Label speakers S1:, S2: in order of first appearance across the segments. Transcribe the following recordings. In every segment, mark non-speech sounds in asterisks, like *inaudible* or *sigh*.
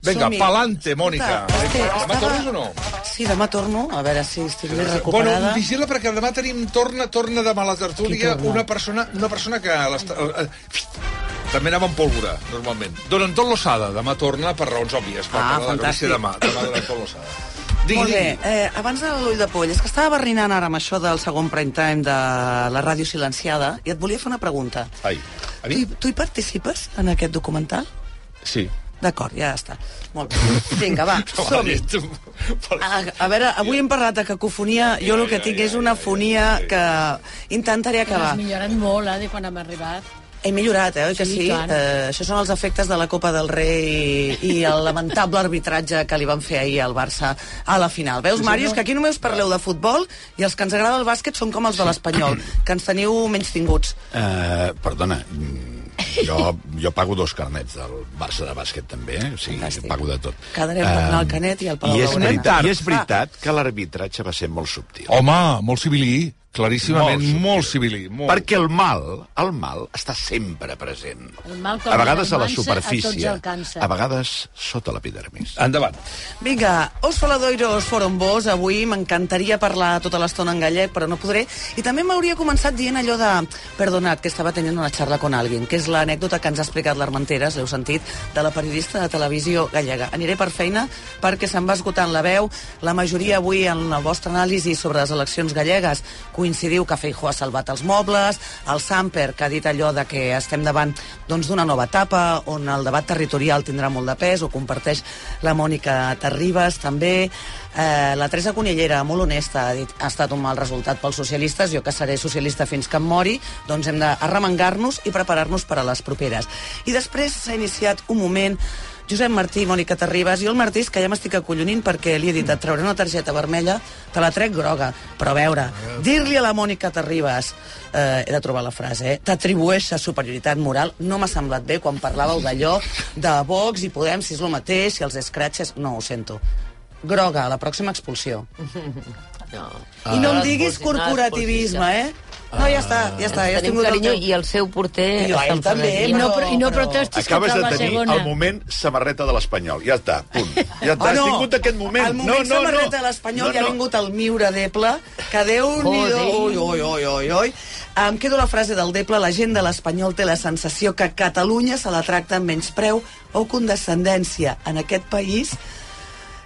S1: Vinga,
S2: Som-hi.
S1: pa'lante, Mònica.
S2: Escolta, este,
S1: Demà
S2: estava-
S1: tornes o no?
S2: Sí, demà torno, a veure si estic més
S1: Bueno,
S2: recuperada.
S1: vigila, perquè demà tenim, torna, torna demà a la
S2: Qui
S1: tertúlia
S2: torna?
S1: una persona, una persona que... l'està- eh, També anava amb pólvora, normalment. Don Anton Lozada, demà torna per raons òbvies. Per
S2: Ah,
S1: parlar de la
S2: fantàstic.
S1: Galícia demà, demà Don Anton Lozada. Digui,
S2: Molt bé,
S1: digui.
S2: eh, abans de l'ull de poll, és que estava barrinant ara amb això del segon prime time de la ràdio silenciada i et volia fer una pregunta.
S1: Ai,
S2: Tu,
S1: a mi?
S2: hi- tu hi participes en aquest documental?
S1: Sí.
S2: D'acord, ja està. Molt bé. Vinga,
S1: *laughs*
S2: va, som-hi. A, a veure, avui hem parlat de cacofonia. Jo el que tinc és una fonia que intentaré acabar.
S3: Has millorat molt, eh, de quan hem arribat.
S2: He millorat, eh, oi que
S3: Sí,
S2: sí?
S3: tant.
S2: Eh, això són els efectes de la Copa del Rei i, i el lamentable arbitratge que li van fer ahir al Barça a la final. Veus, Màrius, que aquí només parleu de futbol i els que ens agrada el bàsquet són com els de l'Espanyol, que ens teniu menys tinguts.
S4: Eh, perdona, mm, jo, jo pago dos carnets del Barça de bàsquet també, eh? o sigui,
S2: Fantàstic.
S4: pago de tot.
S2: Quedarem per anar al
S4: Eh,
S2: Canet i al Palau Ah,
S4: i és
S2: Blaugrana.
S4: veritat, I és veritat que l'arbitratge va ser molt subtil.
S1: Home, molt civilí, claríssimament,
S4: Molt
S1: molt civilí. Molt.
S4: Perquè el mal, el mal, està sempre present.
S3: El mal, quan
S4: a vegades a la
S3: ve d'almansa, a tots
S4: superfície,
S3: alcança.
S4: a vegades sota l'epidermis.
S1: Endavant.
S2: Vinga, os faladoiros foron vos. Avui m'encantaria parlar tota l'estona en gallec, però no podré. I també m'hauria començat dient allò de... Perdonad, que estava tenint una xarra con alguien, que és l'anècdota que ens ha explicat l'Armenteres, l'heu sentit, de la periodista de televisió gallega. Aniré per feina perquè se'n va esgotant la veu. La majoria avui en la vostra anàlisi sobre les eleccions gallegues coincidiu que Feijóo ha salvat els mobles, el Samper, que ha dit allò de que estem davant doncs, d'una nova etapa, on el debat territorial tindrà molt de pes, ho comparteix la Mònica Terribas, també. Eh, la Teresa Conillera, molt honesta, ha dit ha estat un mal resultat pels socialistes, jo que seré socialista fins que em mori, doncs hem d'arremangar-nos i preparar-nos per a les properes. I després s'ha iniciat un moment Josep Martí, Mònica Terribas, jo el Martí és que ja m'estic acollonint perquè li he dit et trauré una targeta vermella, te la trec groga. Però a veure, dir-li a la Mònica Terribas, eh, he de trobar la frase, eh, t'atribueix a superioritat moral, no m'ha semblat bé quan parlàveu d'allò de Vox i Podem, si és el mateix, si els escratxes... No, ho sento. Groga, a la pròxima expulsió.
S5: No.
S2: I no em diguis corporativisme, eh? No, ja està, ja està. Ja
S5: Tenim
S2: tingut el
S5: carinyo
S2: teu.
S5: i el seu porter...
S2: Jo a ell
S5: se'l
S2: també,
S5: mereix.
S3: I no,
S2: però-
S3: i no
S2: però-
S3: protestis que
S4: Acabes
S3: cau
S4: de
S3: la
S4: tenir
S3: segona.
S4: el moment samarreta de l'Espanyol. Ja està, punt.
S2: *laughs*
S4: Ja
S2: Oh,
S4: està, has tingut aquest moment.
S2: El moment
S4: no, no, no.
S2: samarreta de l'Espanyol ja ha vingut el miure d'Eple, que déu nhi
S5: Joder.
S2: Ui, ui, ui, ui, ui. Em quedo la frase del Deble, la gent de l'Espanyol té la sensació que Catalunya se la tracta amb menyspreu o condescendència. En aquest país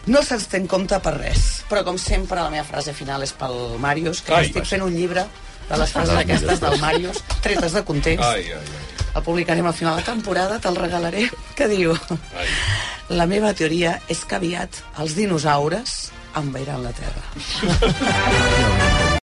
S2: no se'ns té en compte per res. Però, com sempre, la meva frase final és pel Màrius, que
S1: Ai,
S2: estic
S1: vaja.
S2: fent un llibre de les frases
S4: Ai,
S2: aquestes
S4: mira.
S2: del Màrius, tretes de context.
S1: Ai, ai, ai.
S2: El publicarem al final de temporada, te'l regalaré. Què diu?
S1: Ai.
S2: La meva teoria és que aviat els dinosaures envairan la Terra.